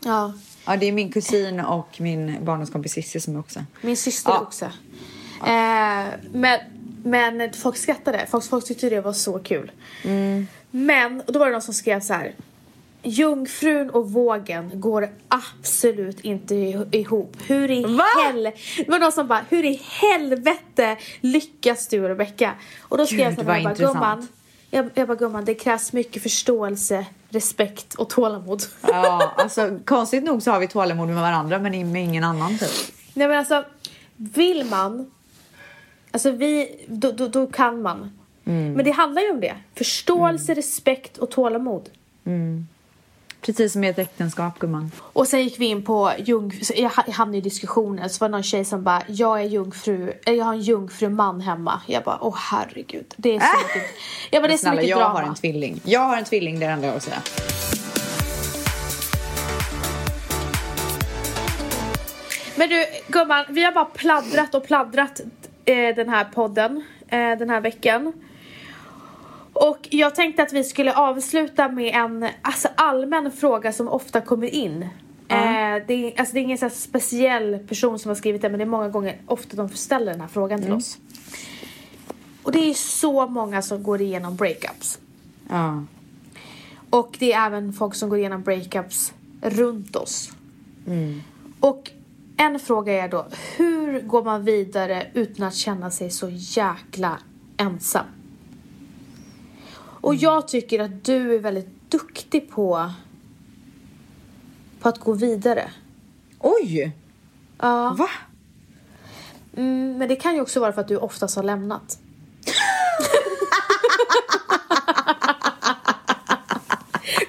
B: Ja.
A: Ja det är min kusin och min barndomskompis Cissi som är också.
B: Min syster
A: Ja.
B: också. Eh, men, men folk skrattade. Folk, folk tyckte det var så kul.
A: Mm.
B: Men och då var det någon som skrev så här. Jungfrun och vågen går absolut inte i- ihop. Hur i
A: Va?
B: hel... Det var någon som bara, hur i helvete lyckas du Rebecka? Och då skrev jag
A: Gud,
B: så här,
A: vad
B: jag bara,
A: intressant.
B: gumman, jag, jag bara, gumman, det krävs mycket förståelse, respekt och tålamod.
A: Ja alltså konstigt nog så har vi tålamod med varandra men med ingen annan typ.
B: Nej men alltså, vill man, alltså vi, då, då, då kan man. Men det handlar ju om det. Förståelse, respekt och tålamod.
A: Precis som i ett äktenskap gumman.
B: Och sen gick vi in på jungfru, jag ha- jag hamnade i diskussionen så var det någon tjej som bara jag är jungfru, eller jag har en jungfru man hemma. Jag bara åh herregud. Det är så mycket, Äh! jag bara, det är så
A: Snälla
B: mycket
A: jag
B: drama.
A: har en tvilling. Jag har en tvilling det är det enda jag har att säga.
B: Men du gumman, vi har bara pladdrat och pladdrat eh, den här podden eh, den här veckan. Och jag tänkte att vi skulle avsluta med en alltså, allmän fråga som ofta kommer in. Eh, det, är, alltså det är ingen så här speciell person som har skrivit det men det är många gånger ofta de ställer den här frågan till oss. Och det är så många som går igenom breakups.
A: Ja.
B: Och det är även folk som går igenom breakups runt oss. Och en fråga är då, hur går man vidare utan att känna sig så jäkla ensam? Och jag tycker att du är väldigt duktig på, på att gå vidare.
A: Oj!
B: Ja,
A: Va?
B: mm, men det kan ju också vara för att du oftast har lämnat.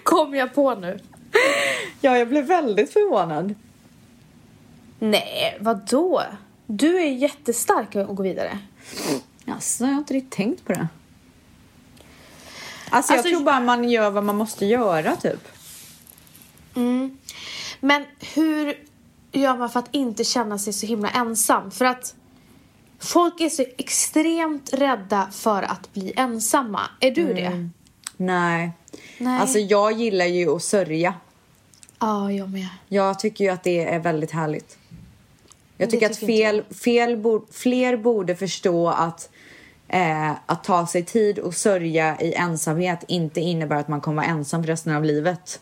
B: Kom jag på nu?
A: Ja, jag blev väldigt förvånad.
B: Nej, vad då? Du är jättestark att gå vidare.
A: Jaså, jag har inte riktigt tänkt på det. Alltså, jag
B: Alltså,
A: tror bara man gör vad man måste göra, typ.
B: Mm. Men hur gör man för att inte känna sig så himla ensam? För att folk är så extremt rädda för att bli ensamma. Är du det?
A: Nej.
B: Nej.
A: Alltså, jag gillar ju att sörja.
B: Ja, jag med.
A: Jag tycker ju att det är väldigt härligt. Jag
B: Det
A: tycker att
B: tycker inte
A: fel, fel bo, fler borde förstå att, eh, att ta sig tid och sörja i ensamhet inte innebär att man kommer vara ensam resten av livet.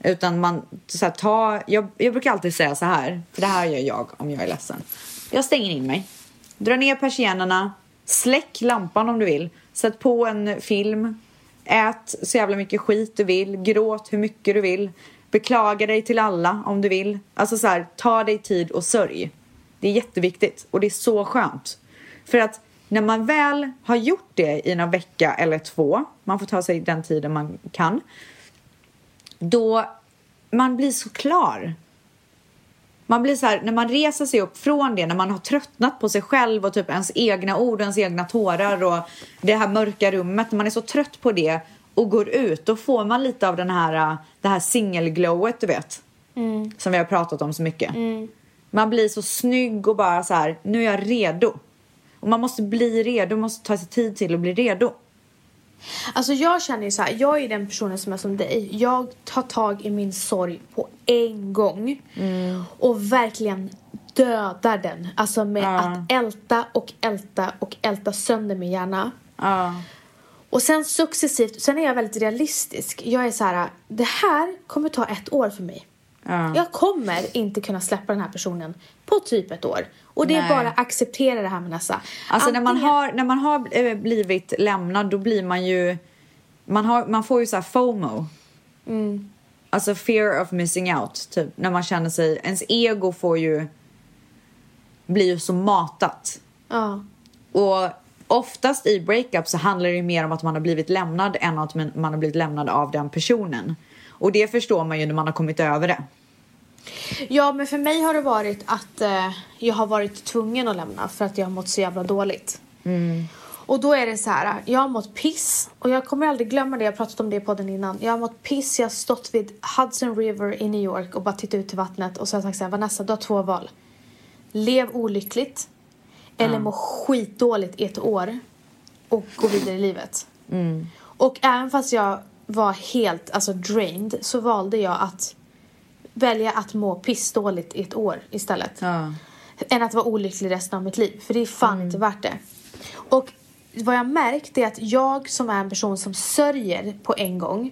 A: Utan man, så här, ta, jag, jag brukar alltid säga så här, för det här gör jag om jag är ledsen. Jag stänger in mig, drar ner persiennerna, släck lampan om du vill, sätt på en film, ät så jävla mycket skit du vill, gråt hur mycket du vill, beklaga dig till alla om du vill. Alltså så här, ta dig tid och sörj. Det är jätteviktigt och det är så skönt. För att när man väl har gjort det i någon vecka eller två, man får ta sig den tiden man kan, då man blir så klar. Man blir så här, när man reser sig upp från det, när man har tröttnat på sig själv och typ ens egna ord och ens egna tårar och det här mörka rummet, när man är så trött på det och går ut, då får man lite av den här, äh, det här singelglowet, du vet. Som vi har pratat om så mycket. Man blir så snygg och bara så här, nu är jag redo. Och man måste bli redo, man måste ta sig tid till att bli redo.
B: Alltså jag känner ju så här, jag är den personen som är som dig. Jag tar tag i min sorg på en gång. Mm. Och verkligen dödar den. Alltså med
A: Ja.
B: att älta och älta och älta sönder min hjärna.
A: Ja.
B: Och sen successivt, sen är jag väldigt realistisk. Jag är så här, det här kommer ta ett år för mig.
A: Ja.
B: Jag kommer inte kunna släppa den här personen på typ ett år. Och det
A: Nej.
B: är bara att acceptera det här Vanessa.
A: Alltså när man,
B: Antingen-
A: har, när man har eh, blivit lämnad då blir man ju... Man, har, man får ju så här FOMO.
B: Mm.
A: Alltså fear of missing out, typ. När man känner sig... Ens ego får ju... Blir ju så matat.
B: Ja.
A: Och oftast i breakup så handlar det ju mer om att man har blivit lämnad än att man man har blivit lämnad av den personen. Och det förstår man ju när man har kommit över det.
B: ja, men för mig har det varit att eh, jag har varit tvungen att lämna för att jag har mått så jävla dåligt. Och då är det så här, jag har mått piss och jag kommer aldrig glömma det, jag har pratat om det i podden innan. Jag har mått piss, jag har stått vid Hudson River i New York och bara tittat ut till vattnet och så har jag sagt så här, Vanessa du har två val. Lev olyckligt eller må skitdåligt i ett år och gå vidare i livet. Och även fast jag var helt alltså drained så valde jag att välja att må pissdåligt i ett år istället
A: Ja.
B: än att vara olycklig resten av mitt liv. För det är fan
A: Mm.
B: inte värt det. Och vad jag märkt är att jag som är en person som sörjer på en gång,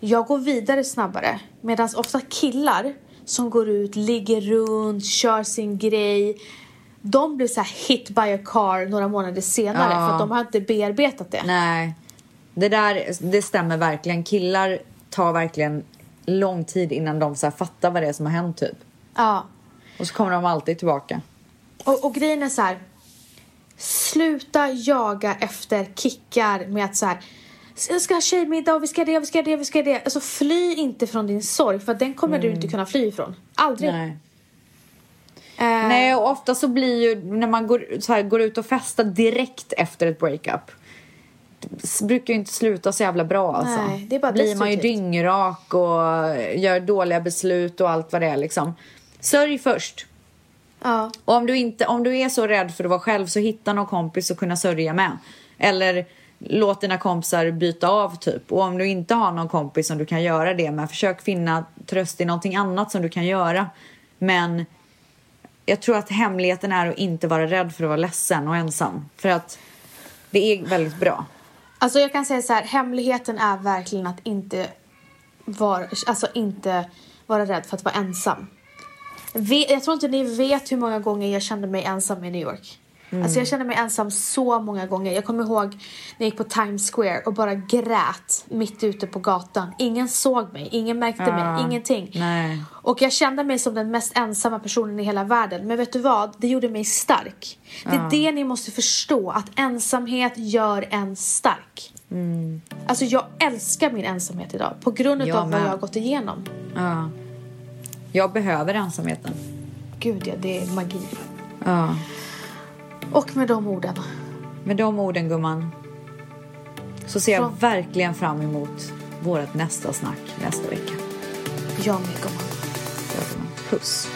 B: jag går vidare snabbare. Medan ofta killar som går ut, ligger runt, kör sin grej, de blir så här hit by a car några månader senare
A: Ja.
B: för att de har inte bearbetat det.
A: Nej. Det där det stämmer verkligen. Killar tar verkligen lång tid innan de så här fattar vad det är som har hänt, typ.
B: Ja.
A: Och så kommer de alltid tillbaka.
B: Och, och grejen är så här. Sluta jaga efter kickar med att så här. Jag ska ha tjejmiddag och vi ska det och vi ska det och vi ska det. Alltså fly inte från din sorg för att den kommer du inte kunna fly ifrån. Aldrig.
A: Nej.
B: Eh,
A: Nej, och ofta så blir ju när man går, så här, går ut och festar direkt efter ett breakup s- brukar ju inte sluta så jävla bra alltså.
B: Nej, det är bara
A: blir man ju
B: destruktivt.
A: dyngrak och gör dåliga beslut och allt vad det är liksom. Sörj först.
B: Ja.
A: Och om du, inte, om du är så rädd för att vara själv så hitta någon kompis att kunna sörja med. Eller låt dina kompisar byta av typ. Och om du inte har någon kompis som du kan göra det med, försök finna tröst i någonting annat som du kan göra. Men jag tror att hemligheten är att inte vara rädd för att vara ledsen och ensam. För att det är väldigt bra.
B: Alltså jag kan säga så här, hemligheten är verkligen att inte vara, alltså inte vara rädd för att vara ensam. Ve- Jag tror inte ni vet hur många gånger jag kände mig ensam i New York. Alltså jag kände mig ensam så många gånger. Jag kommer ihåg när jag gick på Times Square och bara grät mitt ute på gatan. Ingen såg mig, ingen märkte
A: Ja.
B: mig, ingenting.
A: Nej.
B: Och jag kände mig som den mest ensamma personen i hela världen. Men vet du vad? Det gjorde mig stark. Det är det ni måste förstå, att ensamhet gör en stark. Alltså jag älskar min ensamhet idag på grund
A: Jag
B: av vad
A: med.
B: jag har gått igenom.
A: Ja. Jag behöver ensamheten.
B: Gud ja, det är magi.
A: Ja.
B: Och med de orden.
A: Med de orden gumman så ser jag
B: Så.
A: verkligen fram emot vårt nästa snack nästa vecka.
B: Jag med gumman.
A: Ja, gumman. Puss!